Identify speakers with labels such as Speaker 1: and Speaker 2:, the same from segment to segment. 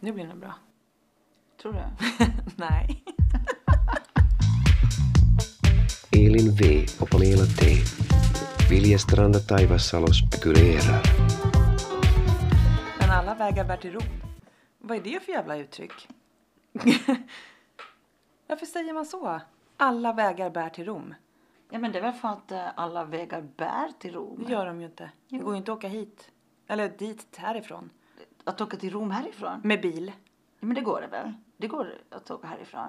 Speaker 1: Nu blir det nog bra.
Speaker 2: Tror du?
Speaker 1: Nej.
Speaker 3: Elin V och Pamela T. Viljestranda Taivassalo spekulerar.
Speaker 1: Men alla vägar bär till Rom. Vad är det för jävla uttryck? Varför säger man så? Alla vägar bär till Rom.
Speaker 2: Ja men det är väl för att eh, alla vägar bär till Rom?
Speaker 1: Det gör de ju inte. Det går ju inte att åka hit. Eller dit härifrån.
Speaker 2: Att åka till Rom härifrån?
Speaker 1: Med bil.
Speaker 2: Ja, men det går det väl? Det går att åka härifrån.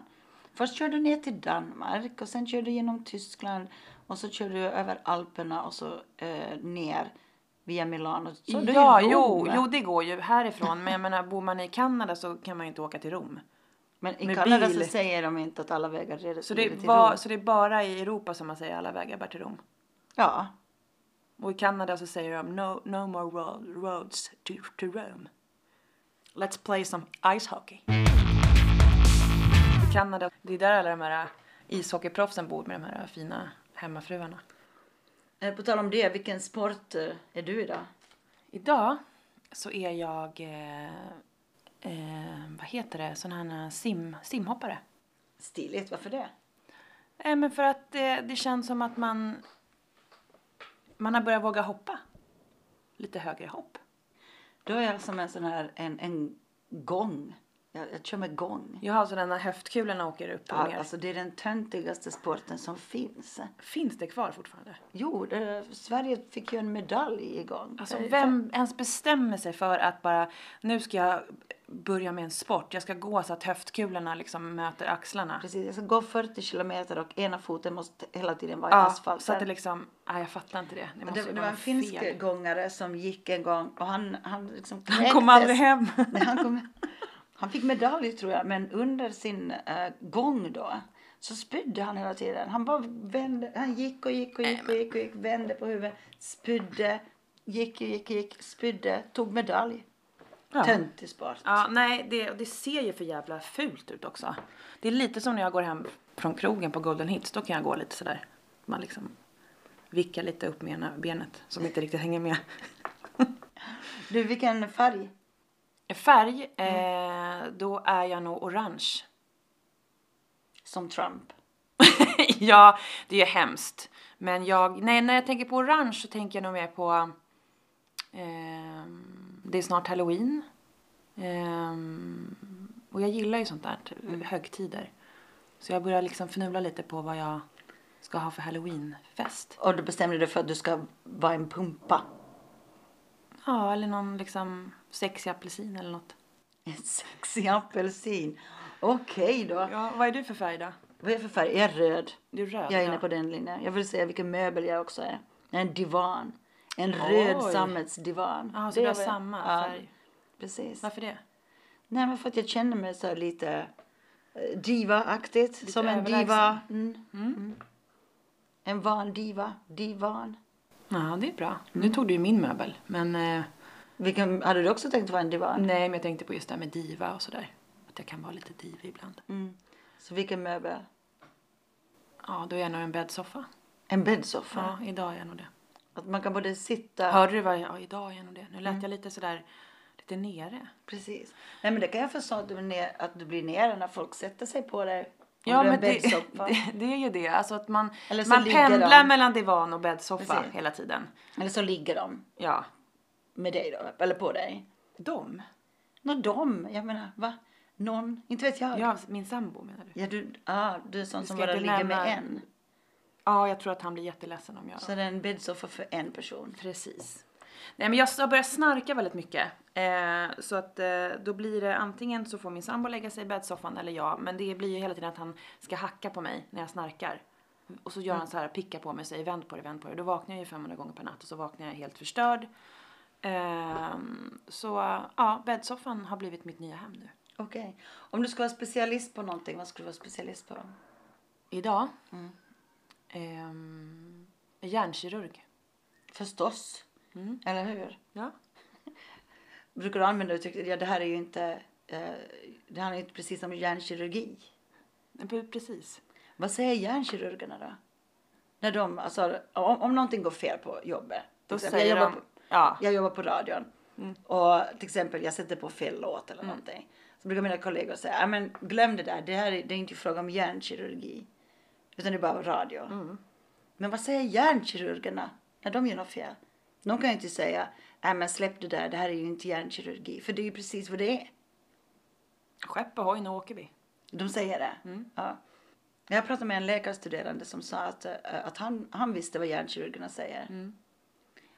Speaker 2: Först kör du ner till Danmark och sen kör du genom Tyskland och så kör du över Alperna och så eh, ner via Milano. Så du
Speaker 1: ja,
Speaker 2: är i
Speaker 1: jo,
Speaker 2: Rom.
Speaker 1: jo, det går ju härifrån. Men jag menar, bor man i Kanada så kan man ju inte åka till Rom.
Speaker 2: Men i
Speaker 1: med
Speaker 2: Kanada så
Speaker 1: bil.
Speaker 2: säger de inte att alla vägar leder
Speaker 1: Så
Speaker 2: leder
Speaker 1: det,
Speaker 2: till
Speaker 1: var,
Speaker 2: Rom.
Speaker 1: så det är bara i Europa som man säger alla vägar bär till Rom.
Speaker 2: Ja,
Speaker 1: Och i Kanada så säger de no, no more ro- roads to, to Rome. Let's play some ice hockey. I Kanada, det är där alla de här ishockeyproffsen bor med de här fina hemmafruarna.
Speaker 2: Eh, På tal om det, vilken sport eh, är du idag?
Speaker 1: Idag så är jag, eh, eh, vad heter det, sån här eh, sim, simhoppare.
Speaker 2: Stiligt, varför det?
Speaker 1: Eh, men för att eh, det känns som att man, man har börjat våga hoppa. Lite högre hopp.
Speaker 2: Då är jag som en sån här, en, en gång. Jag, jag kör med gång.
Speaker 1: Jag har sådana här höftkulorna åker upp och
Speaker 2: Ja,
Speaker 1: ner.
Speaker 2: alltså det är den töntigaste sporten som finns.
Speaker 1: Finns det kvar fortfarande?
Speaker 2: Jo, det, Sverige fick ju en medalj igång.
Speaker 1: Alltså
Speaker 2: Eh,
Speaker 1: vem ens bestämmer sig för att bara, nu ska jag börja med en sport. Jag ska gå så att höftkulorna liksom möter axlarna.
Speaker 2: Precis, jag ska gå 40 kilometer och ena foten måste hela tiden vara i
Speaker 1: Ja,
Speaker 2: asfalten.
Speaker 1: så att det liksom, nej jag fattar inte det. Det måste
Speaker 2: det,
Speaker 1: ju
Speaker 2: det
Speaker 1: vara
Speaker 2: var en
Speaker 1: något
Speaker 2: finsk
Speaker 1: Alltså, fel.
Speaker 2: gångare som gick en gång och han, han liksom
Speaker 1: Han kom aldrig hem.
Speaker 2: Nej, han, kom, han fick medalj tror jag, men under sin eh, gång då så spydde han hela tiden. Han bara vände, han gick och gick och gick och gick och gick, vände på huvudet, spydde, gick och gick och gick, spydde, tog medalj.
Speaker 1: Ja.
Speaker 2: Töntig sport.
Speaker 1: Ja, nej, det, och det ser ju för jävla fult ut också. Det är lite som när jag går hem från krogen på Golden Hits. Då kan jag gå lite sådär. Man liksom vickar lite upp med ena benet som inte riktigt hänger med.
Speaker 2: Du, vilken färg?
Speaker 1: Färg,
Speaker 2: Mm.
Speaker 1: eh, då är jag nog orange.
Speaker 2: Som Trump.
Speaker 1: ja, det är ju hemskt. Men jag, nej, när jag tänker på orange så tänker jag nog mer på... ehm, det är snart halloween. Ehm, och jag gillar ju sånt där, typ, högtider. Så jag börjar liksom fnula lite på vad jag ska ha för halloweenfest.
Speaker 2: Och du bestämde dig för att du ska vara en pumpa.
Speaker 1: Ja, eller någon liksom sexig apelsin eller något.
Speaker 2: En sexig apelsin. Okej då.
Speaker 1: Ja, vad är du för färg då?
Speaker 2: Vad är jag för färg? Jag är röd.
Speaker 1: Du är röd.
Speaker 2: Jag är
Speaker 1: ja.
Speaker 2: inne på den linjen. Jag vill säga vilken möbel jag också är. Jag är En divan. En röd sammetsdivan.
Speaker 1: Ja, så
Speaker 2: Det
Speaker 1: du har
Speaker 2: är väl-
Speaker 1: samma
Speaker 2: ja,
Speaker 1: färg.
Speaker 2: Precis.
Speaker 1: Varför det?
Speaker 2: Nej, men för att jag känner mig så här lite eh, diva-aktigt. som en
Speaker 1: överlägsen.
Speaker 2: diva. Mm. Mm. En van diva. Divan.
Speaker 1: Ja, det är bra. Nu tog du ju min möbel, men... Eh,
Speaker 2: Vilken, hade du också tänkt vara en divan?
Speaker 1: Nej, men jag tänkte på just det här med diva och sådär. Att jag kan vara lite diva ibland.
Speaker 2: Mm. Så vilken möbel?
Speaker 1: Ja, då är jag nog en bäddsoffa.
Speaker 2: En bäddsoffa.
Speaker 1: Ja, idag är jag nog det.
Speaker 2: Att man kan både sitta...
Speaker 1: Hörde du vad jag... Ja, idag är jag nog det. Nu lät jag lite sådär, lite nere.
Speaker 2: Precis. Nej, men det kan jag förstå att du, är ner, att du blir nere när folk sätter sig på dig. Om
Speaker 1: Ja,
Speaker 2: du är
Speaker 1: men det, det,
Speaker 2: bäddsoffa.
Speaker 1: det är ju det. Alltså att man,
Speaker 2: Eller så
Speaker 1: man
Speaker 2: ligger
Speaker 1: pendlar
Speaker 2: de.
Speaker 1: mellan divan och bäddsoffa
Speaker 2: Precis.
Speaker 1: hela tiden.
Speaker 2: Eller så ligger de
Speaker 1: Ja.
Speaker 2: med dig då, eller på dig.
Speaker 1: De?
Speaker 2: Nå, de, jag menar, va? Någon, inte vet jag.
Speaker 1: Ja, min sambo menar du?
Speaker 2: Ja, du, ah, du är sån
Speaker 1: Du
Speaker 2: som
Speaker 1: ska
Speaker 2: bara
Speaker 1: inte
Speaker 2: ligger
Speaker 1: nämna-
Speaker 2: med en.
Speaker 1: Ja, jag tror att han blir jätteledsen om jag...
Speaker 2: Så det är en bäddsoffa för en person.
Speaker 1: Precis. Nej men jag har börjat snarka väldigt mycket. Eh, så att eh, då blir det antingen så får min sambo lägga sig i bäddsoffan eller jag. Men det blir ju hela tiden att han ska hacka på mig när jag snarkar. Och så gör han så här, pickar på mig och säger vänd på dig, vänd på dig. Då vaknar jag ju 500 gånger per natt och så vaknar jag helt förstörd. Ehm, så ja, bäddsoffan har blivit mitt nya hem nu.
Speaker 2: Okej. Om du ska vara specialist på någonting, vad skulle du vara specialist på?
Speaker 1: Idag. Mm. Ehm, hjärnkirurg.
Speaker 2: Förstås.
Speaker 1: Mm.
Speaker 2: Eller hur?
Speaker 1: Ja.
Speaker 2: Brukar du använda uttrycket, ja det här är ju inte, eh, det handlar ju inte precis om hjärnkirurgi.
Speaker 1: Precis.
Speaker 2: Vad säger hjärnkirurgerna då? När de, alltså, om, om någonting går fel på jobbet. till
Speaker 1: Då
Speaker 2: exempel,
Speaker 1: säger
Speaker 2: jag
Speaker 1: de-
Speaker 2: på,
Speaker 1: ja. Mm.
Speaker 2: Jag jobbar på radion. Och till exempel jag sätter på fel låt eller någonting. Så brukar mina kollegor säga, "Ja, men glöm det där, det här är, det är inte fråga om hjärnkirurgi. Utan det är bara radio.
Speaker 1: Mm.
Speaker 2: Men vad säger hjärnkirurgerna när de gör något fel? De kan ju inte säga, nej men släpp det där, det här är ju inte hjärnkirurgi. För det är ju precis vad det är.
Speaker 1: Skepp ohoj, nu åker vi.
Speaker 2: De säger det.
Speaker 1: Mm.
Speaker 2: Ja. Jag pratade med en läkarstuderande som sa att, eh, att han, han visste vad hjärnkirurgerna säger.
Speaker 1: Mm.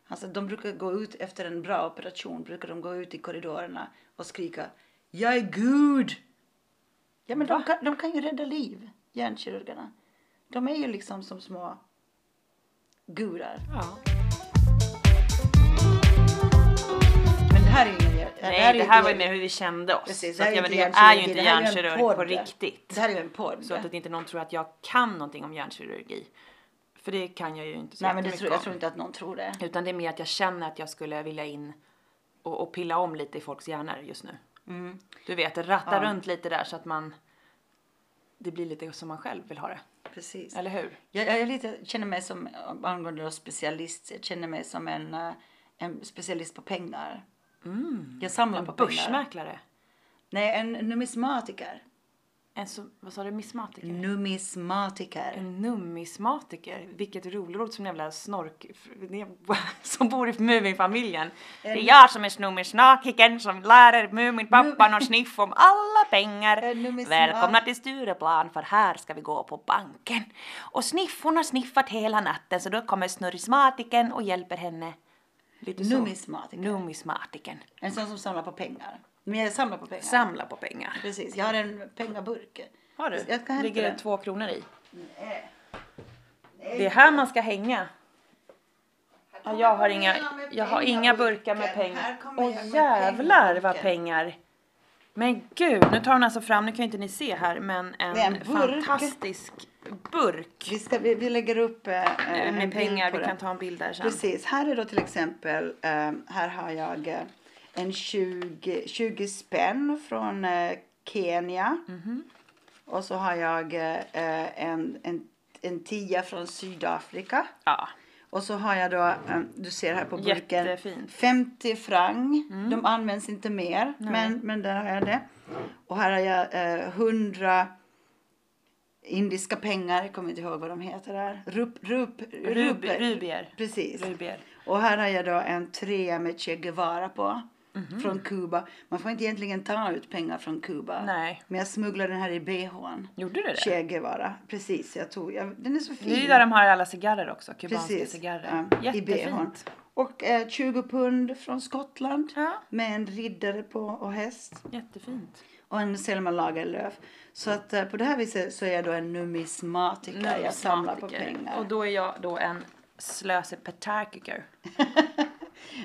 Speaker 2: Han sa att de brukar gå ut efter en bra operation, brukar de gå ut i korridorerna och skrika Jag är Gud! Ja men de kan, de kan ju rädda liv, hjärnkirurgerna. De är ju liksom som små gudar.
Speaker 1: Ja.
Speaker 2: Men det här är ju ingen hjär-
Speaker 1: Nej, det här var ju
Speaker 2: inte-
Speaker 1: mer hur vi kände oss.
Speaker 2: Precis,
Speaker 1: så
Speaker 2: det
Speaker 1: att
Speaker 2: här
Speaker 1: jag,
Speaker 2: är
Speaker 1: men
Speaker 2: ju
Speaker 1: jag
Speaker 2: inte
Speaker 1: är ju
Speaker 2: hjärnkirurgi,
Speaker 1: inte
Speaker 2: det här är ju en
Speaker 1: hjärnkirurg på
Speaker 2: podd.
Speaker 1: riktigt.
Speaker 2: Det här är ju en podd.
Speaker 1: Så att inte någon tror att jag kan någonting om hjärnkirurgi. För det kan jag ju inte så
Speaker 2: Nej men det
Speaker 1: jättemycket
Speaker 2: tror, jag
Speaker 1: om.
Speaker 2: tror inte att någon tror det.
Speaker 1: Utan det är mer att jag känner att jag skulle vilja in och, och pilla om lite i folks hjärnor just nu.
Speaker 2: Mm.
Speaker 1: Du vet, ratta runt lite där så att man... Det blir lite som man själv vill ha det.
Speaker 2: Precis.
Speaker 1: Eller hur?
Speaker 2: Jag, jag, är lite, känner mig som, angående då specialist, jag känner mig som en, eh, en specialist på pengar.
Speaker 1: Mm.
Speaker 2: Jag samlar på pengar.
Speaker 1: Börsmäklare.
Speaker 2: Nej, en numismatiker.
Speaker 1: En så, vad sa du, mismatiker?
Speaker 2: Numismatiker.
Speaker 1: En nummismatiker. Vilket roligt som en jävla snork... Som bor i Muminfamiljen. Det är jag som är nummismatiken som lärer Muminpappan att sniffa om alla
Speaker 2: En
Speaker 1: pengar.
Speaker 2: numismat-
Speaker 1: Välkomna till Stureplan för här ska vi gå på banken. Och sniffon har sniffat hela natten så då kommer snurrismatiken och hjälper henne. Lite så.
Speaker 2: Numismatiker.
Speaker 1: Numismatiken.
Speaker 2: En sån som samlar på pengar. Men jag samlar på pengar.
Speaker 1: Samla på pengar.
Speaker 2: Precis, jag har en pengaburk.
Speaker 1: Har du?
Speaker 2: Jag kan hämta
Speaker 1: Ligger det
Speaker 2: den. Eh,
Speaker 1: två kronor i?
Speaker 2: Nej.
Speaker 1: Det är här man ska hänga. Ja, jag har inga, jag har inga burkar med pengar. Åh jävlar vad pengar. Men gud, nu tar hon alltså fram, nu kan ju inte ni se här, men en,
Speaker 2: Det är en burk.
Speaker 1: fantastisk burk
Speaker 2: Vi, ska, vi, vi lägger upp eh, eh, en
Speaker 1: med
Speaker 2: bild
Speaker 1: pengar.
Speaker 2: på
Speaker 1: Vi
Speaker 2: den.
Speaker 1: kan ta en bild där sen.
Speaker 2: Precis. Här är då till exempel, eh, här har jag eh, en 20, 20 spänn från eh, Kenya. Och så har jag eh, eh, en, en, en tia från Sydafrika.
Speaker 1: Ja,
Speaker 2: Och så har jag då, eh, du ser här på burken,
Speaker 1: Jättefint. Mm.
Speaker 2: 50 franc. De används inte mer, men, men där har jag det. Och här har jag eh, 100 indiska pengar, jag kommer inte ihåg vad de heter där. Rup, rup,
Speaker 1: Rub,
Speaker 2: ruper.
Speaker 1: rubier.
Speaker 2: Precis.
Speaker 1: Rubier.
Speaker 2: Och här har jag då en trea med Che Guevara på.
Speaker 1: Mhm.
Speaker 2: Från Kuba. Man får inte egentligen ta ut pengar från Kuba.
Speaker 1: Nej.
Speaker 2: Men jag smugglade den här i bhn.
Speaker 1: Gjorde du det?
Speaker 2: Che Guevara. Precis, jag tog. Jag, den är så fin.
Speaker 1: Det är ju där de har alla cigarrer också, kubanska
Speaker 2: Precis.
Speaker 1: cigarrer.
Speaker 2: ja, I bhn.
Speaker 1: Jättefint.
Speaker 2: Och eh, 20 pund från Skottland.
Speaker 1: Ja.
Speaker 2: Med en riddare på och häst.
Speaker 1: Jättefint.
Speaker 2: Och en Selma Lagerlöf. Så att eh, på det här viset så är jag då en numismatiker. Jag samlar på
Speaker 1: Numismatiker.
Speaker 2: pengar.
Speaker 1: Och då är jag då en slösepetarkiker.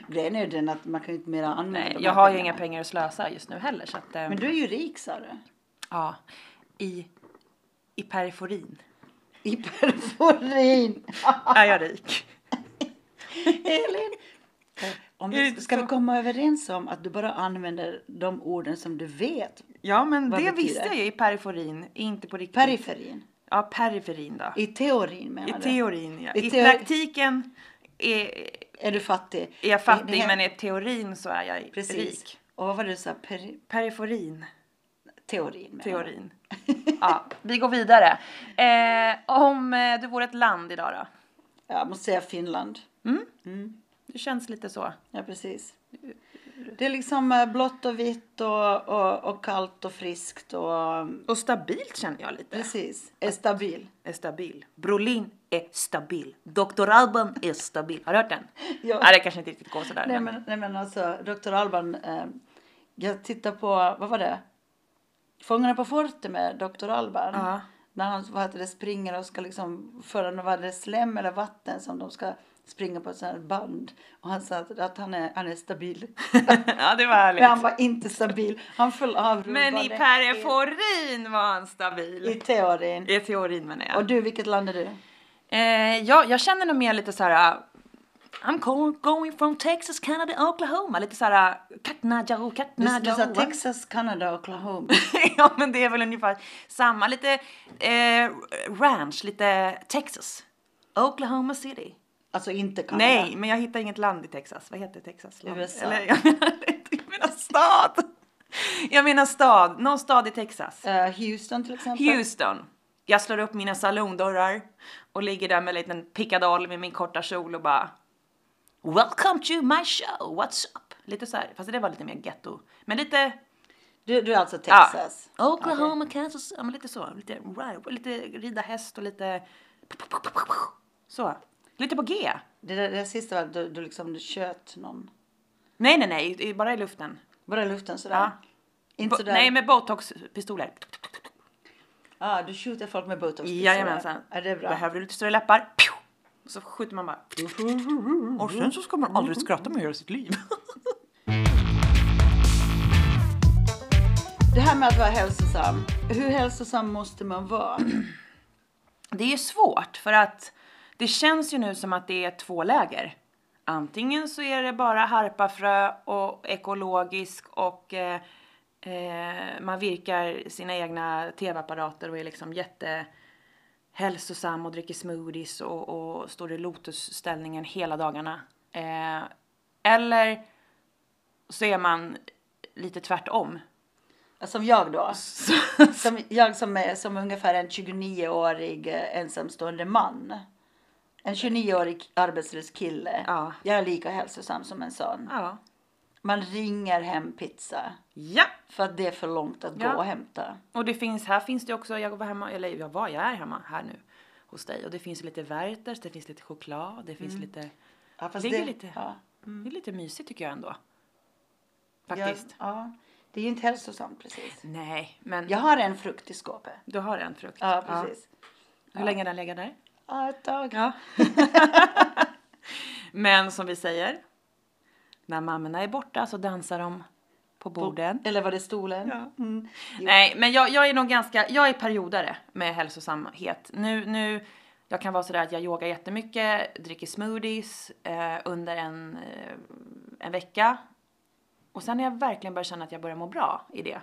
Speaker 2: Grejen är ju den att man kan ju inte mer använda
Speaker 1: Nej,
Speaker 2: de
Speaker 1: jag
Speaker 2: här
Speaker 1: har ju
Speaker 2: pengarna.
Speaker 1: inga pengar att slösa just nu heller så att, eh,
Speaker 2: Men du är ju rik sa du.
Speaker 1: ja, i, i periferin
Speaker 2: I perforin.
Speaker 1: är jag rik.
Speaker 2: Elin.
Speaker 1: Eh,
Speaker 2: Om
Speaker 1: Är det
Speaker 2: vi,
Speaker 1: inte
Speaker 2: ska
Speaker 1: så?
Speaker 2: vi komma överens om att du bara använder de orden som du vet?
Speaker 1: Ja, men
Speaker 2: Vad
Speaker 1: det
Speaker 2: betyder
Speaker 1: visste jag ju i periferin, inte på riktigt.
Speaker 2: Periferin.
Speaker 1: ja, periferin då. I,
Speaker 2: I teorin menar du?
Speaker 1: teorin ja. I,
Speaker 2: I teo-
Speaker 1: praktiken är,
Speaker 2: Är du fattig?
Speaker 1: är jag fattig,
Speaker 2: Det- det-
Speaker 1: men i teorin så är jag
Speaker 2: Precis.
Speaker 1: rik.
Speaker 2: Och vad var det du sa? Peri,
Speaker 1: Periferin,
Speaker 2: teorin menar du?
Speaker 1: teorin. Ja, vi går vidare. Eh, om eh, du vore ett land idag då?
Speaker 2: Jag måste säga Finland.
Speaker 1: Det känns lite så.
Speaker 2: Ja, precis. Det är liksom eh, blått och vitt och, och, och kallt och friskt och... mm,
Speaker 1: Och stabilt känner jag lite.
Speaker 2: Precis. Är stabil.
Speaker 1: är stabil. Brolin är stabil. Dr. Alban är stabil. Har du hört den?
Speaker 2: Ja.
Speaker 1: Nej, det kanske inte riktigt går sådär.
Speaker 2: Nej
Speaker 1: men-
Speaker 2: men, nej, men alltså, Dr. Alban. Eh, jag tittar på, vad var det? Fångarna på fortet med Dr. Alban.
Speaker 1: Ja.
Speaker 2: När han vad heter det, springer och ska liksom föra något, vad är det, slem eller vatten som de ska springa på ett sånt här band. Och han sa att, att han, är, han är stabil.
Speaker 1: ja, det var härligt.
Speaker 2: men han var inte stabil. Han föll av
Speaker 1: Men i
Speaker 2: rubban.
Speaker 1: periferin var han
Speaker 2: I
Speaker 1: stabil.
Speaker 2: teorin.
Speaker 1: I teorin menar jag.
Speaker 2: Och du, vilket land är du?
Speaker 1: Eh, ja, jag känner nog mer lite så här. uh, I'm go- going from Texas, Canada, Oklahoma. Lite så här uh, Katnajaru,
Speaker 2: Du, du sa
Speaker 1: Katnajaru.
Speaker 2: Texas, Kanada, Oklahoma.
Speaker 1: ja, men det är väl ungefär samma. Lite eh, ranch, lite Texas. Oklahoma City.
Speaker 2: Alltså inte Kanada.
Speaker 1: Nej, men jag hittar inget land i Texas. Vad heter Texas? Land?
Speaker 2: USA.
Speaker 1: Eller, jag menar, jag menar stad. Jag menar stad. Någon stad i Texas.
Speaker 2: Eh, Houston till exempel.
Speaker 1: Houston. Jag slår upp mina salondörrar och ligger där med en liten pickadoll med min korta kjol och bara Welcome to my show, what's up? Lite så här, fast det var lite mer ghetto. Men lite
Speaker 2: Du, du är alltså Texas?
Speaker 1: Ja. Oklahoma, Kansas, ja, men lite så. Lite, ride- lite rida häst och lite så. Lite på G.
Speaker 2: Det där, det där sista var att du, du liksom du köt någon.
Speaker 1: Nej, nej, nej, det är bara i luften.
Speaker 2: Bara i luften sådär.
Speaker 1: Ja.
Speaker 2: Inte
Speaker 1: Bo-
Speaker 2: sådär.
Speaker 1: nej, med botoxpistoler.
Speaker 2: ah, du skjuter folk med botox.
Speaker 1: Alltså, Jajamensan.
Speaker 2: Ja, det är bra.
Speaker 1: Behöver du lite större läppar? Pew! Och så skjuter man bara. Och sen så ska man aldrig skratta mer i sitt liv.
Speaker 2: Det här med att vara hälsosam. Hur hälsosam måste man vara?
Speaker 1: Det är ju svårt för att det känns ju nu som att det är två läger. Antingen så är det bara harpafrö och ekologisk och eh, eh, man virkar sina egna tv-apparater och är liksom jättehälsosam och dricker smoothies och, och står i lotusställningen hela dagarna. Eh, eller så är man lite tvärtom.
Speaker 2: Som jag då.
Speaker 1: Så,
Speaker 2: Som jag som är som ungefär en 29-årig eh, ensamstående man. En 29-årig arbetslös kille.
Speaker 1: Ja.
Speaker 2: Jag är lika hälsosam som en sån.
Speaker 1: ja.
Speaker 2: Man ringer hem pizza.
Speaker 1: ja.
Speaker 2: För att det är för långt att
Speaker 1: Ja.
Speaker 2: gå och hämta.
Speaker 1: Och det finns, här finns det också, jag var hemma, eller jag var, jag är hemma här nu hos dig. Och det finns lite Werthers, det finns lite choklad, det
Speaker 2: Mm.
Speaker 1: finns lite,
Speaker 2: Ja, fast
Speaker 1: Ligger lite.
Speaker 2: Ja,
Speaker 1: det är lite mysigt tycker jag ändå.
Speaker 2: jag,
Speaker 1: Faktiskt.
Speaker 2: Mm. ja, det är ju inte hälsosamt precis.
Speaker 1: Nej, men
Speaker 2: Jag har en frukt i skåpet.
Speaker 1: du har en frukt.
Speaker 2: Ja, precis.
Speaker 1: Ja. Hur länge har den legat där?
Speaker 2: Ja, ett tag.
Speaker 1: Ja. men som vi säger, när mammorna är borta så dansar de på borden.
Speaker 2: Eller var det stolen?
Speaker 1: Ja.
Speaker 2: Mm.
Speaker 1: Nej, men jag, jag är nog ganska, jag är periodare med hälsosamhet. Nu, nu, jag kan vara sådär att jag yogar jättemycket, dricker smoothies eh, under en, eh, en vecka. Och sen när jag verkligen börjar känna att jag börjar må bra i det.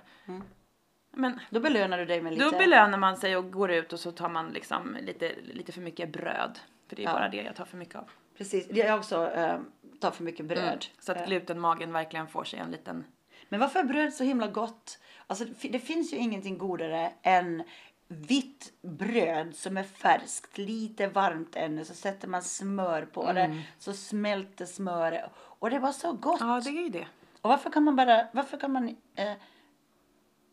Speaker 1: Men
Speaker 2: Då belönar du dig med lite.
Speaker 1: då belönar man sig och går ut och så tar man liksom lite, lite för mycket bröd. För det är
Speaker 2: Ja.
Speaker 1: bara det jag tar för mycket av.
Speaker 2: Precis. Jag också eh, tar för mycket bröd.
Speaker 1: Mm.
Speaker 2: Eh,
Speaker 1: Så att glutenmagen verkligen får sig en liten...
Speaker 2: Men varför är bröd så himla gott? Alltså, det fi- det finns ju ingenting godare än vitt bröd som är färskt, lite varmt ännu. Så sätter man smör på det, så smälter smöret. Och det var så gott.
Speaker 1: Mm. Ja, det är ju det.
Speaker 2: Och varför kan man bara, varför kan man, eh,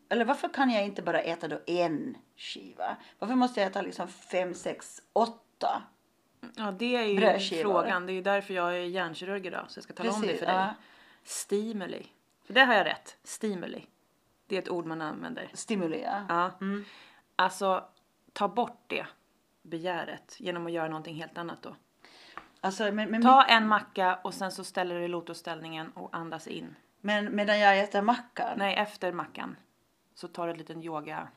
Speaker 2: eller varför kan jag inte bara äta då en skiva? Varför måste jag äta liksom fem, sex, åtta?
Speaker 1: Ja, det är ju
Speaker 2: Brödskivor.
Speaker 1: frågan. Det är ju därför jag är hjärnkirurg idag. Så jag ska tala om det
Speaker 2: Precis,
Speaker 1: för dig.
Speaker 2: ja.
Speaker 1: Stimuli. För det har jag rätt. Stimuli. Det är ett ord man använder.
Speaker 2: Stimulera.
Speaker 1: Ja.
Speaker 2: Mm.
Speaker 1: Alltså, ta bort det begäret genom att göra någonting helt annat
Speaker 2: Mm.
Speaker 1: då.
Speaker 2: Alltså, men, men,
Speaker 1: Ta en macka och sen så ställer du dig i lotusställningen och andas in.
Speaker 2: men medan jag äter mackan.
Speaker 1: Nej, efter mackan så tar du en liten yoga.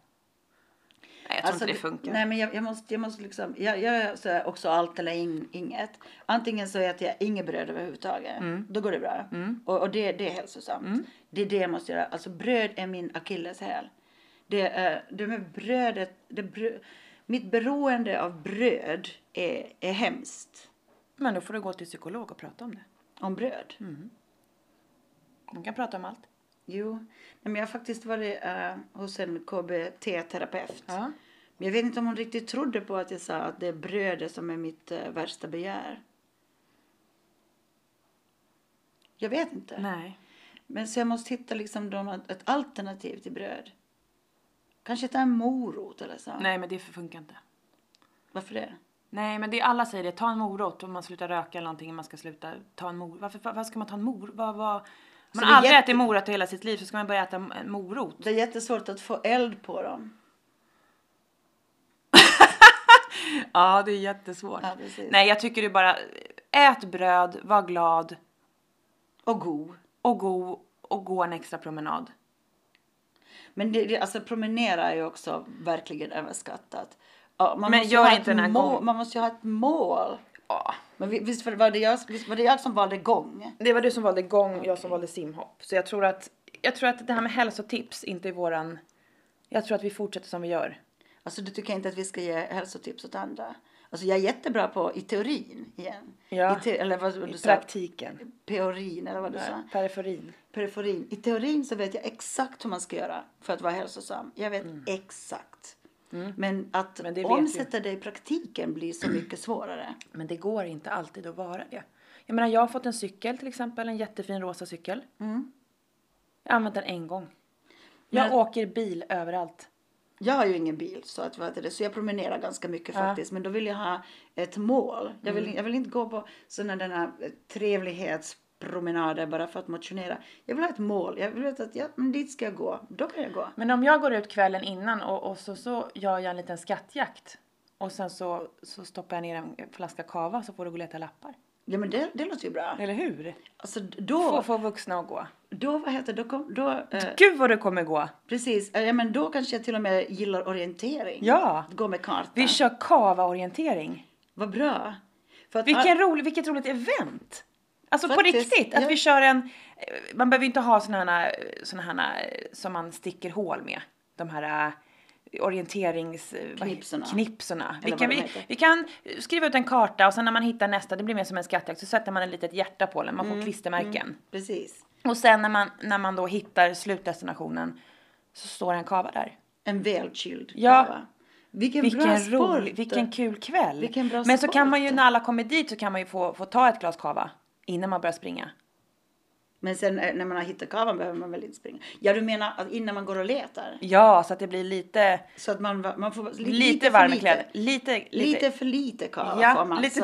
Speaker 1: Nej, jag tror
Speaker 2: Alltså,
Speaker 1: inte det
Speaker 2: det-
Speaker 1: funkar.
Speaker 2: Nej, men jag, jag måste, jag måste liksom, jag, jag är så här också allt eller in, inget. Antingen så äter jag inget bröd överhuvudtaget,
Speaker 1: Mm.
Speaker 2: då går det bra. Och, och det, det är hälsosamt. Det är det jag måste göra. Alltså bröd är min akilleshäl. Det, är- det med brödet, det brö, mitt beroende av bröd är, är hemskt.
Speaker 1: Men då får du gå till psykolog och prata om det.
Speaker 2: Om bröd.
Speaker 1: Mm. Man kan prata om allt.
Speaker 2: Jo, nej, men jag har faktiskt varit eh, hos en KBT-terapeut.
Speaker 1: Ja.
Speaker 2: Men jag vet inte om hon riktigt trodde på att jag sa att det är brödet som är mitt eh, värsta begär. Jag vet inte.
Speaker 1: Nej.
Speaker 2: Men så jag måste hitta liksom då något, ett alternativ till bröd. Kanske ta en morot eller så.
Speaker 1: Nej, men det funkar inte.
Speaker 2: Varför det?
Speaker 1: Nej, men det alla säger det. Ta en morot om man slutar röka eller någonting. Man ska sluta ta en morot. Varför, var, varför ska man ta en morot? Vad, vad... Man
Speaker 2: det är
Speaker 1: har aldrig
Speaker 2: jätte-
Speaker 1: ätit morot i hela sitt liv så ska man börja äta en morot.
Speaker 2: Det är jättesvårt att få eld på dem.
Speaker 1: Ja, det är jättesvårt.
Speaker 2: Ja, precis.
Speaker 1: Nej, jag tycker du bara ät bröd, var glad
Speaker 2: Och god.
Speaker 1: och go och gå en extra promenad.
Speaker 2: Men det, det, alltså promenera är ju också verkligen överskattat. Ja, man
Speaker 1: Men
Speaker 2: måste ju
Speaker 1: gör
Speaker 2: ha
Speaker 1: inte
Speaker 2: ett
Speaker 1: den här
Speaker 2: mål,
Speaker 1: gången.
Speaker 2: Man måste ju ha ett mål.
Speaker 1: Ja.
Speaker 2: Men vi- visst var det jag, visst var det jag som valde gång?
Speaker 1: Det var du som valde gång, jag som valde simhopp. Så jag tror att, jag tror att det här med hälsotips inte är våran... Jag tror att vi fortsätter som vi gör.
Speaker 2: Alltså du tycker inte att vi ska ge hälsotips åt andra? Alltså jag är jättebra på i teorin igen.
Speaker 1: Ja.
Speaker 2: I te- eller vad du
Speaker 1: I
Speaker 2: sa,
Speaker 1: praktiken.
Speaker 2: peorin eller vad du sa.
Speaker 1: Periferin.
Speaker 2: Periferin. I teorin så vet jag exakt hur man ska göra för att vara hälsosam. Jag vet exakt. Men att
Speaker 1: Mm. Men det vet
Speaker 2: omsätta det i praktiken blir så mycket svårare.
Speaker 1: Men det går inte alltid att vara det. Jag menar, jag har fått en cykel till exempel, en jättefin rosa cykel. Jag har använt den en gång. Jag
Speaker 2: Men-
Speaker 1: åker bil överallt.
Speaker 2: Jag har ju ingen bil så, att, vad heter det, så jag promenerar ganska mycket faktiskt. Men då vill jag ha ett mål. Jag
Speaker 1: Mm.
Speaker 2: vill, jag vill inte gå på sådana den här eh, trevlighetspromenader bara för att motionera. Jag vill ha ett mål. Jag vill veta att ja, men dit ska jag gå. Då kan jag gå.
Speaker 1: Men om jag går ut kvällen innan och, och så, så gör jag en liten skattjakt och sen så, så stoppar jag ner en flaska kava så får du gå och leta lappar.
Speaker 2: Ja men det, det låter ju bra.
Speaker 1: Eller hur?
Speaker 2: Alltså d-
Speaker 1: Få,
Speaker 2: då,
Speaker 1: få vuxna att gå.
Speaker 2: då vad heter det, då, kom, då eh,
Speaker 1: Gud vad du kommer gå!
Speaker 2: precis, Eh, ja men då kanske jag till och med gillar orientering.
Speaker 1: Ja.
Speaker 2: Att gå med kartan.
Speaker 1: Vi kör kava-orientering.
Speaker 2: Vad bra. För att,
Speaker 1: Vilken rolig, vilket roligt event! Alltså på
Speaker 2: Ah. Faktiskt,
Speaker 1: riktigt, att
Speaker 2: ja.
Speaker 1: vi kör en... eh, Man behöver ju inte ha såna här, eh, såna här eh, som man sticker hål med. De här eh, orienterings... eh, vad-
Speaker 2: Knipsorna.
Speaker 1: knipsorna. Vi
Speaker 2: Eller
Speaker 1: kan,
Speaker 2: vad de
Speaker 1: vi,
Speaker 2: heter.
Speaker 1: vi kan eh, skriva ut en karta och sen när man hittar nästa, det blir mer som en skattjakt, så sätter man ett litet hjärta på den. Man får
Speaker 2: Mm,
Speaker 1: klistermärken.
Speaker 2: Precis.
Speaker 1: Och sen när man, när man då hittar slutdestinationen så står en kava där.
Speaker 2: En välkyld
Speaker 1: Ja.
Speaker 2: kava. Vilken, bra
Speaker 1: Vilken
Speaker 2: sport.
Speaker 1: rolig, vilken kul kväll.
Speaker 2: Vilken bra
Speaker 1: Men så kan
Speaker 2: sport.
Speaker 1: man ju när alla kommer dit så kan man ju få, få ta ett glas kava innan man börjar springa.
Speaker 2: Men sen eh, när man har hittat kavan behöver man väl inte springa? Ja, du menar att innan man går och letar?
Speaker 1: Ja, så att det blir lite,
Speaker 2: Så att man, va- man får li-
Speaker 1: lite,
Speaker 2: för
Speaker 1: varma
Speaker 2: lite.
Speaker 1: kläder. Lite, lite,
Speaker 2: Lite för lite kava får
Speaker 1: ja,
Speaker 2: man.
Speaker 1: lite,
Speaker 2: så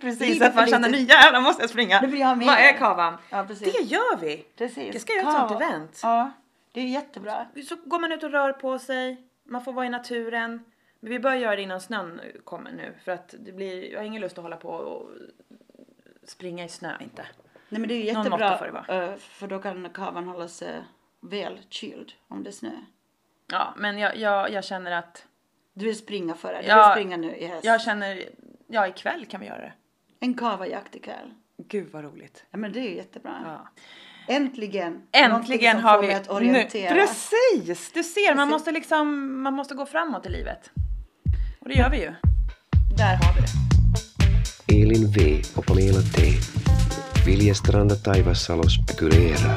Speaker 1: precis.
Speaker 2: lite
Speaker 1: så att man
Speaker 2: för
Speaker 1: känner nu
Speaker 2: lite.
Speaker 1: jävlar måste jag springa.
Speaker 2: Nu vill jag ha mer.
Speaker 1: Vad är kavan?
Speaker 2: Ja, precis.
Speaker 1: Det gör vi.
Speaker 2: Precis.
Speaker 1: Det ska jag göra ett sånt event.
Speaker 2: Ja, det är jättebra.
Speaker 1: Så går man ut och rör på sig, man får vara i naturen. Men vi bör göra det innan snön kommer nu för att det blir, jag har ingen lust att hålla på och springa i snö inte.
Speaker 2: Nej men det är ju
Speaker 1: Någon
Speaker 2: jättebra
Speaker 1: måtta får det
Speaker 2: eh, för då kan kavan hålla sig välkyld om det är snö.
Speaker 1: Ja, men jag, jag, jag känner att,
Speaker 2: Du vill springa före, du
Speaker 1: Ja.
Speaker 2: vill springa nu i höst.
Speaker 1: jag känner, ja ikväll kan vi göra det.
Speaker 2: En kavajakt ikväll.
Speaker 1: Gud vad roligt.
Speaker 2: Ja men det är ju jättebra.
Speaker 1: Ja.
Speaker 2: Äntligen! någonting
Speaker 1: Äntligen
Speaker 2: som
Speaker 1: har
Speaker 2: får
Speaker 1: vi,
Speaker 2: mig att orientera.
Speaker 1: Nu, precis! Du ser, man måste liksom, man måste gå framåt i livet. Och det gör vi ju. Där har vi det.
Speaker 3: Elin V. och Pamela T. Viljestranda Taivassalos Kyreera.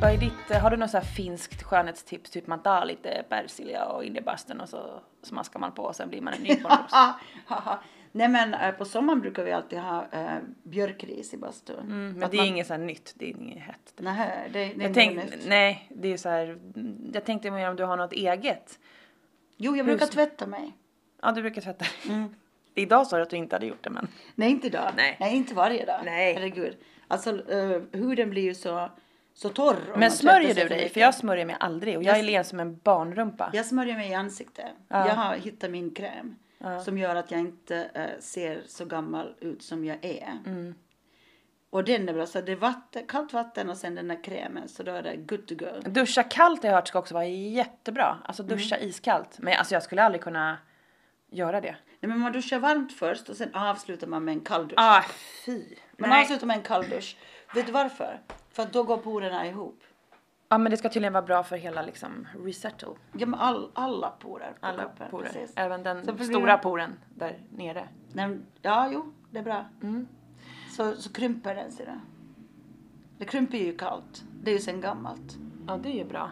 Speaker 1: Vad är ditt, har du något så här finskt skönhetstips? Typ man tar lite persilja och in i bastun och så smaskar man på och sen blir man en ny porrros.
Speaker 2: Haha. Nej men eh, på sommaren brukar vi alltid ha eh, björkris i bastun.
Speaker 1: Mm, Men det är inget så här nytt, det är inget hett.
Speaker 2: Nej, det, det är
Speaker 1: Jag tänk,
Speaker 2: nog nytt.
Speaker 1: nej, det är så här, mm, jag tänkte mer om du har något eget.
Speaker 2: Jo, jag brukar tvätta mig.
Speaker 1: Ja, du brukar tvätta
Speaker 2: Mm.
Speaker 1: Idag sa du att du inte hade gjort det men.
Speaker 2: Nej, inte idag.
Speaker 1: Nej.
Speaker 2: inte varje dag.
Speaker 1: Nej.
Speaker 2: Herregud. Alltså eh, huden blir ju så, så torr. om man
Speaker 1: Men smörjer
Speaker 2: tvättar sig
Speaker 1: du dig?
Speaker 2: mycket.
Speaker 1: För jag smörjer mig aldrig och jag är len som en barnrumpa.
Speaker 2: Jag smörjer mig i ansiktet. Jag har hittat min kräm. Som gör att jag inte eh, ser så gammal ut som jag är.
Speaker 1: Mm.
Speaker 2: Och den är bra. Så det är vatten, kallt vatten och sen den där krämen. Så då är det good to go.
Speaker 1: Duscha kallt har jag hört ska också vara jättebra. Alltså duscha iskallt. Men alltså jag skulle aldrig kunna göra det.
Speaker 2: Nej, men man duschar varmt först och sen avslutar man med en kall dusch.
Speaker 1: Ah, fy.
Speaker 2: man
Speaker 1: Nej.
Speaker 2: avslutar med en kall dusch. Vet du varför? För att då går porerna ihop.
Speaker 1: Ja men det ska tydligen vara bra för hela liksom resettle.
Speaker 2: Ja, men all, alla porer på
Speaker 1: Alla
Speaker 2: kroppen.
Speaker 1: porer.
Speaker 2: Precis.
Speaker 1: Även den
Speaker 2: Så blir
Speaker 1: stora
Speaker 2: det-
Speaker 1: poren där nere.
Speaker 2: Nej, men- ja, jo, det är bra.
Speaker 1: Mm.
Speaker 2: Så, så krymper den ser du. Det krymper ju kallt. Det är ju sen gammalt.
Speaker 1: Ja det är ju bra.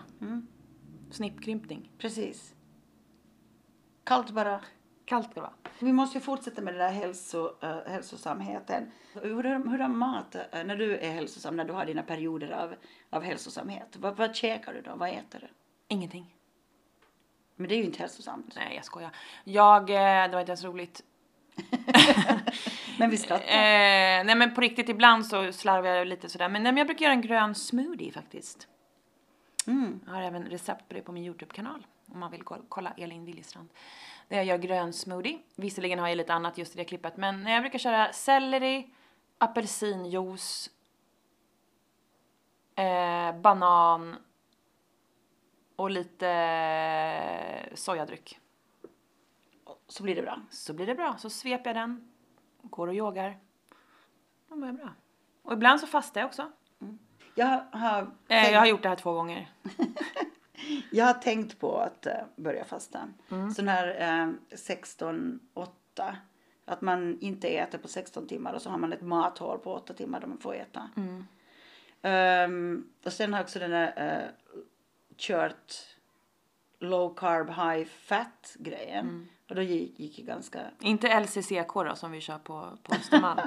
Speaker 1: Snippkrympning.
Speaker 2: Precis. Kallt bara.
Speaker 1: Kallt ska det vara.
Speaker 2: Vi måste ju fortsätta med den där hälso, eh, hälsosamheten. Hur, hur har mat, eh, när du är hälsosam, när du har dina perioder av, av hälsosamhet, vad, vad käkar du då? Vad äter du?
Speaker 1: Ingenting.
Speaker 2: Men det är ju inte hälsosamt.
Speaker 1: Nej jag skojar. Jag, eh, det var inte ens roligt.
Speaker 2: Men vi skrattar.
Speaker 1: Eh, nej men på riktigt ibland så slarvar jag lite sådär. Men, nej, men jag brukar göra en grön smoothie faktiskt.
Speaker 2: Mm.
Speaker 1: Jag har även recept på det på min Youtube-kanal. Om man vill go- kolla Elin Wiljestrand. Där jag gör grön smoothie. Visserligen har jag lite annat just i det klippet. Men jag brukar köra selleri, apelsinjuice, eh, banan och lite eh, sojadryck.
Speaker 2: Så blir det bra.
Speaker 1: Så blir det bra. Så sveper jag den, går och yogar. Då mår jag bra. Och ibland så fastar jag också.
Speaker 2: Jag har...
Speaker 1: Eh, jag har gjort det här två gånger.
Speaker 2: Jag har tänkt på att eh, börja fasta.
Speaker 1: Mm.
Speaker 2: Sån här eh, 16-8. Att man inte äter på 16 timmar och så har man ett mathål på 8 timmar där man får äta. Ehm, och sen har jag också den där eh, kört low carb high fat grejen.
Speaker 1: Mm.
Speaker 2: Och då gick, gick jag ganska...
Speaker 1: Inte LCCK då som vi kör på, på Östermalm.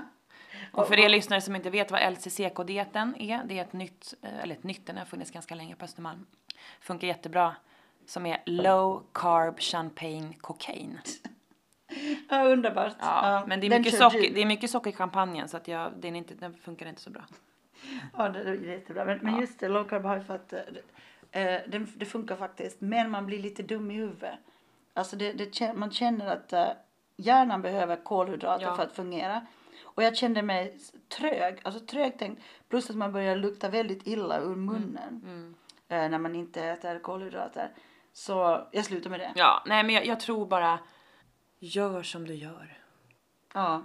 Speaker 1: Och för er lyssnare som inte vet vad LCCK-dieten är, det är ett nytt, eh, eller ett nytt, den har funnits ganska länge på Östermalm. Funkar jättebra. Som är low carb champagne cocaine.
Speaker 2: Ja, underbart.
Speaker 1: Ja, men det är,
Speaker 2: den
Speaker 1: mycket
Speaker 2: kör
Speaker 1: socker,
Speaker 2: du.
Speaker 1: det är mycket socker i champagnen så att jag, den, är inte, den funkar inte så bra.
Speaker 2: Ja, det det är jättebra. Men, men just det, low carb high fat, eh, eh, den, det funkar faktiskt. Men man blir lite dum i huvudet. Alltså det, det, kän- man känner att eh, hjärnan behöver kolhydrater
Speaker 1: Ja.
Speaker 2: för att fungera. Och jag kände mig s- trög, alltså trög tänkt. Plus att man börjar lukta väldigt illa
Speaker 1: Mm,
Speaker 2: ur munnen. Eh, när man inte äter kolhydrater. Så jag slutar med det.
Speaker 1: Ja, nej men jag, jag tror bara, gör som du gör.
Speaker 2: Ja.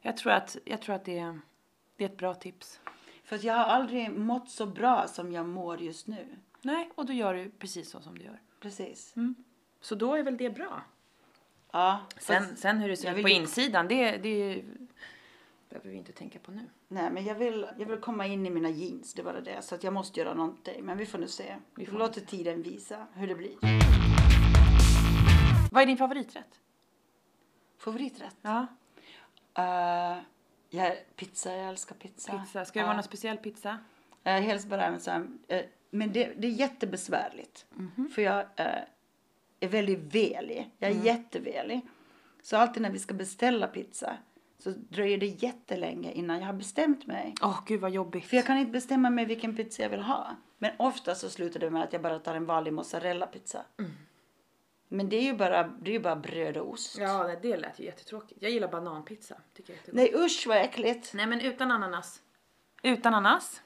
Speaker 1: Jag tror att, jag tror att det, det är ett bra tips.
Speaker 2: För att jag har aldrig mått så bra som jag mår just nu.
Speaker 1: Nej, och då gör du precis så som du gör.
Speaker 2: Precis.
Speaker 1: Så då är väl det bra.
Speaker 2: Ja.
Speaker 1: Sen, sen hur det ser
Speaker 2: jag
Speaker 1: ut
Speaker 2: vill
Speaker 1: på
Speaker 2: ju-
Speaker 1: insidan, det, det är ju- behöver vi inte tänka på nu.
Speaker 2: Nej, men jag vill, jag vill komma in i mina jeans, det var det. Så att jag måste göra någonting. Men vi får nu se. Vi
Speaker 1: får
Speaker 2: låter tiden visa hur det blir.
Speaker 1: Vad är din favoriträtt?
Speaker 2: Favoriträtt?
Speaker 1: Ja,
Speaker 2: Eh, jag, pizza, jag älskar pizza.
Speaker 1: pizza. Ska det
Speaker 2: Ja.
Speaker 1: vara någon speciell pizza?
Speaker 2: Eh, helst bara en sån här, eh, Men det, det är jättebesvärligt.
Speaker 1: Mhm.
Speaker 2: För jag eh, är väldigt velig. Jag är
Speaker 1: Mm.
Speaker 2: jättevelig. Så alltid när vi ska beställa pizza så dröjer det jättelänge innan jag har bestämt mig.
Speaker 1: Åh gud vad jobbigt.
Speaker 2: För jag kan inte bestämma mig vilken pizza jag vill ha. Men ofta så slutar det med att jag bara tar en vanlig mozzarella-pizza.
Speaker 1: Mm.
Speaker 2: Men det är ju bara, det är ju bara bröd och ost.
Speaker 1: Ja, nej, det lät ju jättetråkigt. Jag gillar bananpizza. Tycker jag är jättegott.
Speaker 2: Nej usch vad äckligt.
Speaker 1: nej men utan ananas. Utan ananas?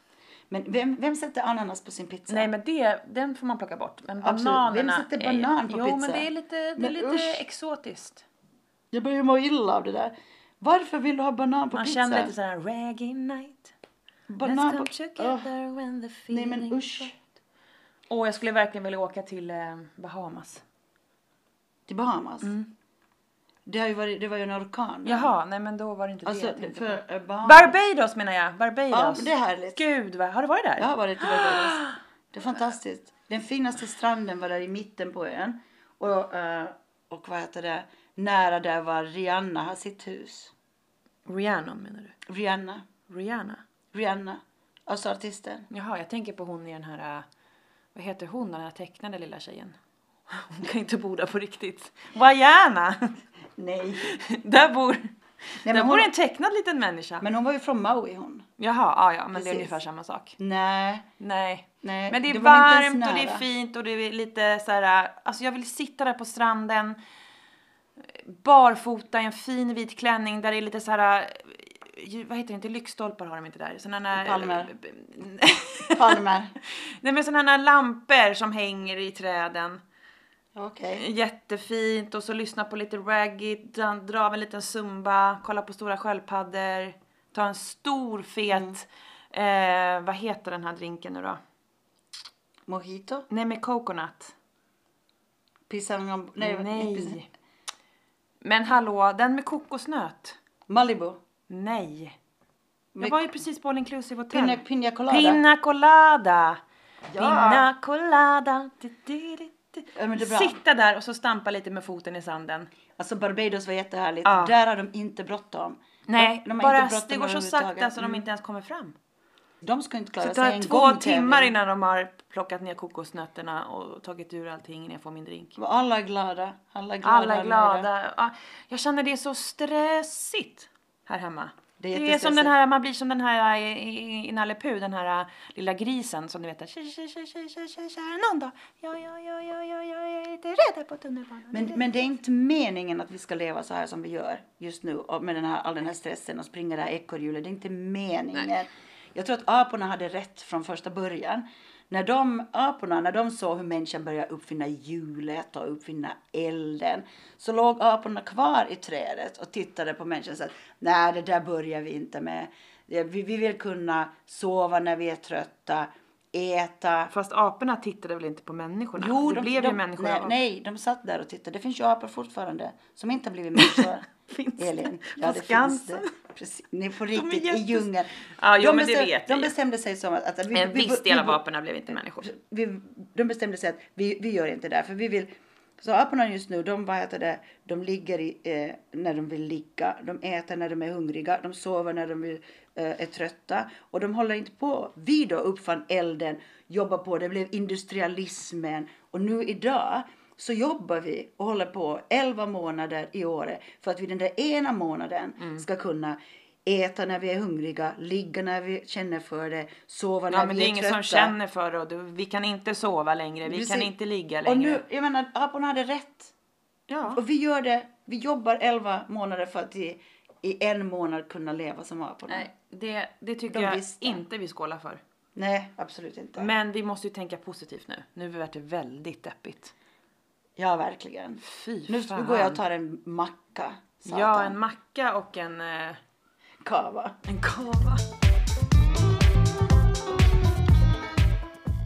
Speaker 2: Men vem, vem sätter ananas på sin pizza?
Speaker 1: Nej men det, den får man plocka bort. Men
Speaker 2: Absolut.
Speaker 1: bananerna
Speaker 2: Vem sätter
Speaker 1: är ju-
Speaker 2: banan på
Speaker 1: jo,
Speaker 2: pizza?
Speaker 1: Jo men det är lite, det är
Speaker 2: Men
Speaker 1: lite
Speaker 2: usch.
Speaker 1: exotiskt.
Speaker 2: Jag börjar må illa av det där. Varför vill du ha banan på
Speaker 1: Man
Speaker 2: pizza?
Speaker 1: känner lite såhär reggae night. Let's
Speaker 2: banan
Speaker 1: come
Speaker 2: på... Åh,
Speaker 1: together when the
Speaker 2: nej
Speaker 1: feeling
Speaker 2: men usch.
Speaker 1: Åh jag skulle verkligen vilja åka till eh, Bahamas.
Speaker 2: Mm. Till Bahamas. Det, har ju varit, det var ju en orkan.
Speaker 1: Mm. Jaha, nej men då var det inte
Speaker 2: Alltså
Speaker 1: det jag tänkte på.
Speaker 2: för eh, Bahamas.
Speaker 1: Barbados menar jag,
Speaker 2: Ja,
Speaker 1: Barbados.
Speaker 2: det är härligt.
Speaker 1: Gud vad, har du varit där?
Speaker 2: Jag har varit i Barbados. Det är fantastiskt. Den finaste stranden var där i mitten på ön. Och, eh, och vad heter det? Nära där var Rihanna har sitt hus.
Speaker 1: Rihanna menar du?
Speaker 2: Rihanna.
Speaker 1: Rihanna?
Speaker 2: Rihanna. Alltså artisten.
Speaker 1: Jaha, jag tänker på hon i den här, eh, vad heter hon, den här tecknade lilla tjejen? Hon kan inte bo där på riktigt. Vajana!
Speaker 2: Nej.
Speaker 1: Där bor,
Speaker 2: men
Speaker 1: där
Speaker 2: hon-
Speaker 1: bor en tecknad liten människa.
Speaker 2: Men hon var ju från Maui hon.
Speaker 1: Jaha, ja, ja men det är
Speaker 2: Precis.
Speaker 1: ungefär samma sak.
Speaker 2: Nej.
Speaker 1: Nej.
Speaker 2: Nej.
Speaker 1: Men det är
Speaker 2: det var inte ens
Speaker 1: varmt och det
Speaker 2: nära.
Speaker 1: är fint och det är lite så här, alltså jag vill sitta där på stranden barfota i en fin vit klänning där det är lite så här eh, vad heter det, inte lyktstolpar har de inte där. Sådana här...
Speaker 2: Palmer. Palmer.
Speaker 1: Nej men sådana här lampor som hänger i träden.
Speaker 2: Okej.
Speaker 1: Jättefint och så lyssna på lite reggae, dra, dra av en liten zumba, kolla på stora sköldpaddor, ta en stor fet,
Speaker 2: Mm.
Speaker 1: eh, vad heter den här drinken nu då?
Speaker 2: Mojito.
Speaker 1: Nej med coconut.
Speaker 2: Pisang... Nej.
Speaker 1: Nej.
Speaker 2: inte pisang-
Speaker 1: Men hallå, den med kokosnöt?
Speaker 2: Malibu.
Speaker 1: Nej. Jag
Speaker 2: Med-
Speaker 1: var ju precis på all inclusive hotell.
Speaker 2: Pina, pina colada.
Speaker 1: Pina colada.
Speaker 2: Ja.
Speaker 1: Pina colada. Du, du, du, du.
Speaker 2: Ja, men det är bra.
Speaker 1: Sitta där och så stampa lite med foten i sanden.
Speaker 2: Alltså Barbados var jättehärligt.
Speaker 1: Ja.
Speaker 2: Där har de inte bråttom.
Speaker 1: Nej,
Speaker 2: De- de har
Speaker 1: bara
Speaker 2: inte bråttom
Speaker 1: det går så
Speaker 2: överhuvudtaget.
Speaker 1: sakta så de inte ens kommer fram.
Speaker 2: De ska inte
Speaker 1: Det
Speaker 2: klara sig
Speaker 1: tar
Speaker 2: en
Speaker 1: två
Speaker 2: gångtävling.
Speaker 1: timmar innan de har plockat ner kokosnötterna och tagit ur allting innan jag får min drink.
Speaker 2: Och Alla är glada. Alla är glada.
Speaker 1: Alla är
Speaker 2: och nöjda.
Speaker 1: glada. Ja, Jag känner det är så stressigt här hemma.
Speaker 2: Det
Speaker 1: Det
Speaker 2: är
Speaker 1: är, som
Speaker 2: jättestressigt.
Speaker 1: den här, man blir som den här eh, i, i, i Nalle Puh, den här äh, lilla grisen som ni vet, tja, tja, tja, tja, tja, tja, tja, någon dag. Ja, ja, ja, ja, ja, ja, jag är lite rädd här på tunnelbanan.
Speaker 2: Men, men det är inte meningen att vi ska leva så här som vi gör just nu och med den här, all den här stressen och springa det här ekorrhjulet. Det är inte meningen. Jag tror att aporna hade rätt från första början. När de aporna, när de såg hur människan började uppfinna hjulet och uppfinna elden så låg aporna kvar i trädet och tittade på människan och sa nej det där börjar vi inte med. Vi vi vill kunna sova när vi är trötta, äta.
Speaker 1: Fast aporna tittade väl inte på människorna?
Speaker 2: Jo,
Speaker 1: det blev ju människor
Speaker 2: nej,
Speaker 1: av-
Speaker 2: nej, de satt där och tittade. Det finns ju apor fortfarande som inte har blivit människor.
Speaker 1: Finns
Speaker 2: Elin.
Speaker 1: det?
Speaker 2: Ja,
Speaker 1: På
Speaker 2: det finns
Speaker 1: Skansen?
Speaker 2: det. Precis. Ni får
Speaker 1: är
Speaker 2: riktigt i
Speaker 1: jättes-
Speaker 2: djungeln.
Speaker 1: Ja, jo,
Speaker 2: de,
Speaker 1: men det
Speaker 2: bestäm-
Speaker 1: vet vi
Speaker 2: de
Speaker 1: ju.
Speaker 2: bestämde sig som att... att vi,
Speaker 1: En
Speaker 2: vi-
Speaker 1: viss
Speaker 2: vi-
Speaker 1: del av
Speaker 2: vi-
Speaker 1: aporna blev inte människor.
Speaker 2: vi, de bestämde sig att vi, vi gör inte det här, för vi vill så aporna just nu, de, vad heter det, de ligger i, eh, när de vill ligga, de äter när de är hungriga, de sover när de vill, eh, är trötta och de håller inte på. Vi då uppfann elden, jobbar på, det blev industrialismen och nu idag så jobbar vi och håller på 11 månader i året för att vi den där ena månaden
Speaker 1: Mm.
Speaker 2: ska kunna äta när vi är hungriga, ligga när vi känner för det, sova när
Speaker 1: Ja, men
Speaker 2: vi
Speaker 1: det är
Speaker 2: är
Speaker 1: ingen
Speaker 2: trötta.
Speaker 1: som känner för det. och du- Vi kan inte sova längre. Vi kan
Speaker 2: Precis.
Speaker 1: inte ligga
Speaker 2: Och
Speaker 1: längre.
Speaker 2: nu, jag menar, aporna hade rätt.
Speaker 1: ja.
Speaker 2: Och vi gör det, vi jobbar 11 månader för att i, i en månad kunna leva som aporna.
Speaker 1: Nej, det, det tycker
Speaker 2: De
Speaker 1: jag
Speaker 2: visste.
Speaker 1: inte vi skålar för.
Speaker 2: Nej, absolut inte.
Speaker 1: Men vi måste ju tänka positivt nu. Nu vart det väldigt deppigt.
Speaker 2: Ja, verkligen.
Speaker 1: Fy
Speaker 2: Nu
Speaker 1: fan.
Speaker 2: går jag och tar en macka. Satan.
Speaker 1: Ja, en macka och en, eh,
Speaker 2: kava.
Speaker 1: en kava.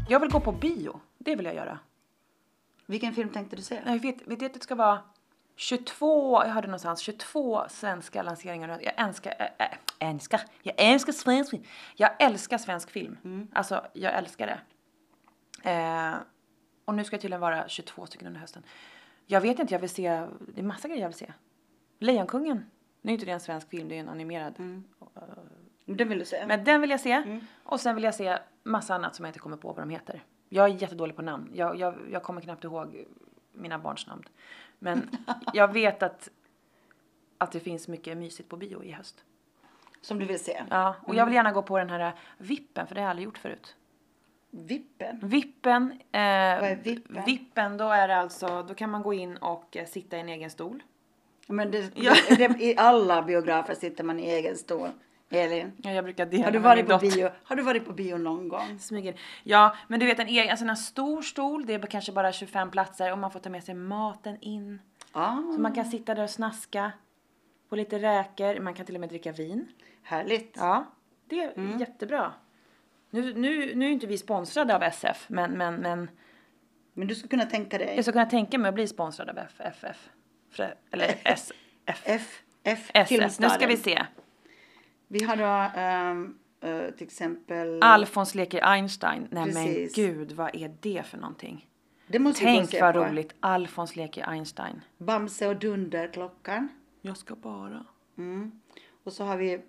Speaker 1: Jag vill gå på bio. Det vill jag göra.
Speaker 2: Vilken film tänkte du se?
Speaker 1: Nej, vet, vet du att det ska vara 22, jag hörde någonstans, 22 svenska lanseringar. Jag älskar, äh, äh, älskar, jag älskar svensk film. Jag älskar svensk film. Alltså, jag älskar det. Eh, och nu ska jag tydligen vara 22 stycken under hösten. Jag vet inte, jag vill se, det är massa grejer jag vill se. Lejonkungen. Nu är inte det en svensk film, det är en animerad.
Speaker 2: Den vill du se?
Speaker 1: Men den vill jag se. Och sen vill jag se massa annat som jag inte kommer på vad de heter. Jag är jättedålig på namn. Jag, jag, jag kommer knappt ihåg mina barns namn. Men jag vet att, att det finns mycket mysigt på bio i höst.
Speaker 2: Som du vill se?
Speaker 1: Ja, och jag vill gärna gå på den här äh, vippen, för det har jag aldrig gjort förut.
Speaker 2: Vippen?
Speaker 1: Vippen. Eh, vad är
Speaker 2: vippen?
Speaker 1: Vippen, då är det alltså, då kan man gå in och eh, sitta i en egen stol.
Speaker 2: Men det,
Speaker 1: Ja.
Speaker 2: det, i alla biografer sitter man i egen stol. Elin,
Speaker 1: Ja, jag brukar dela
Speaker 2: har du,
Speaker 1: med min
Speaker 2: varit på
Speaker 1: dotter.
Speaker 2: bio, har du varit på bio någon gång?
Speaker 1: Smyger. Ja, men du vet en egen, alltså en stor stol, det är kanske bara 25 platser och man får ta med sig maten in.
Speaker 2: Ah,
Speaker 1: Så man kan sitta där och snaska på lite räkor, man kan till och med dricka vin.
Speaker 2: härligt.
Speaker 1: Ja, det är
Speaker 2: Mm.
Speaker 1: jättebra. Nu, nu, nu är inte vi sponsrade av SF, men, men, men
Speaker 2: Men du skulle kunna tänka dig
Speaker 1: jag skulle kunna tänka mig att bli sponsrad av FFF. Frä- Eller SF.
Speaker 2: F, F,
Speaker 1: SF. Nu
Speaker 2: Filmstaden.
Speaker 1: ska vi se.
Speaker 2: Vi har då ehm, eh, till exempel...
Speaker 1: Alfons leker Einstein. Nej men
Speaker 2: Precis.
Speaker 1: gud, vad är det för någonting?
Speaker 2: det måste vi gå och
Speaker 1: Tänk
Speaker 2: se
Speaker 1: vad
Speaker 2: på.
Speaker 1: roligt. Alfons leker Einstein.
Speaker 2: Bamse och Dunderklockan.
Speaker 1: Jag ska bara.
Speaker 2: Mm. Och så har vi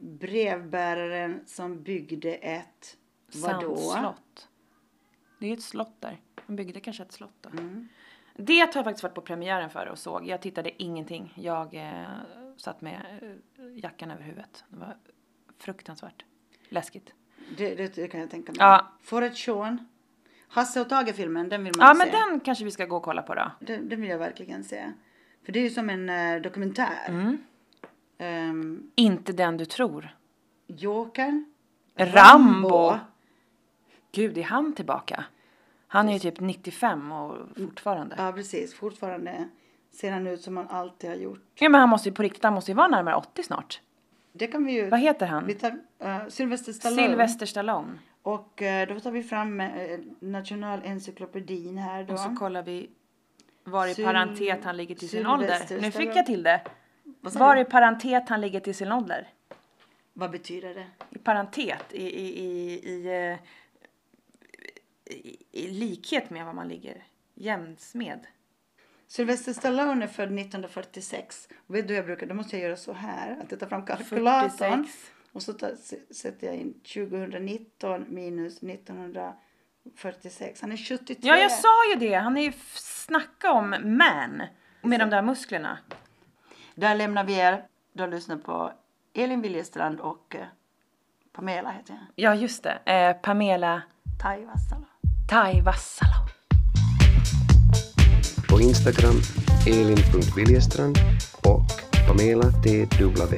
Speaker 2: brevbäraren som byggde ett... Vadå?
Speaker 1: Sandslott. Det är ju ett slott där. De byggde kanske ett slott då. Mm. Det har jag faktiskt varit på premiären för och såg. Jag tittade ingenting. Jag eh, satt med eh, jackan över huvudet. Det var fruktansvärt läskigt.
Speaker 2: Det, det, det kan jag tänka mig.
Speaker 1: Ja.
Speaker 2: Forrest Shawn. Hasse och Tage-filmen, den vill man
Speaker 1: Ja
Speaker 2: se.
Speaker 1: men den kanske vi ska gå och kolla på då.
Speaker 2: den... den vill jag verkligen se. För det är ju som en eh, dokumentär.
Speaker 1: Mm.
Speaker 2: Ehm,
Speaker 1: Inte den du tror.
Speaker 2: Jokern.
Speaker 1: Rambo. Gud, är han tillbaka? Han är ju typ 95 och fortfarande.
Speaker 2: Ja, precis. Fortfarande ser han ut som han alltid har gjort.
Speaker 1: Ja men han måste ju på riktigt, han måste ju vara närmare 80 snart.
Speaker 2: Det kan vi ju...
Speaker 1: Vad heter han?
Speaker 2: Vi tar eh, Sylvester Stallone.
Speaker 1: Sylvester Stallone.
Speaker 2: Och eh, då tar vi fram eh, nationalencyklopedin här då.
Speaker 1: Och så kollar vi var i
Speaker 2: Syl-
Speaker 1: parentet han ligger till sin
Speaker 2: Sylvester
Speaker 1: ålder. Nu fick
Speaker 2: Stallone.
Speaker 1: jag till det.
Speaker 2: Vad sa
Speaker 1: Var
Speaker 2: du?
Speaker 1: i parentet han ligger till sin ålder.
Speaker 2: Vad betyder det?
Speaker 1: I parentet, i, i, i, i, eh, i, i likhet med vad man ligger jämns med.
Speaker 2: Sylvester Stallone är född 1946. Och vet du hur jag brukar, då måste jag göra så här. Att jag tar fram kalkylatorn.
Speaker 1: 46.
Speaker 2: Och så tar, s- sätter jag in 2019 minus 1946. Han är 73.
Speaker 1: Ja, jag sa ju det. Han är ju f- snacka om man. Med de där musklerna.
Speaker 2: Där lämnar vi er. Du lyssnar på Elin Wiljestrand och eh, Pamela heter jag.
Speaker 1: Ja, just det. Eh, Pamela
Speaker 2: Tai Vassala.
Speaker 1: Taivassalo.
Speaker 3: På Instagram elin.viljestrand och Pamela TW.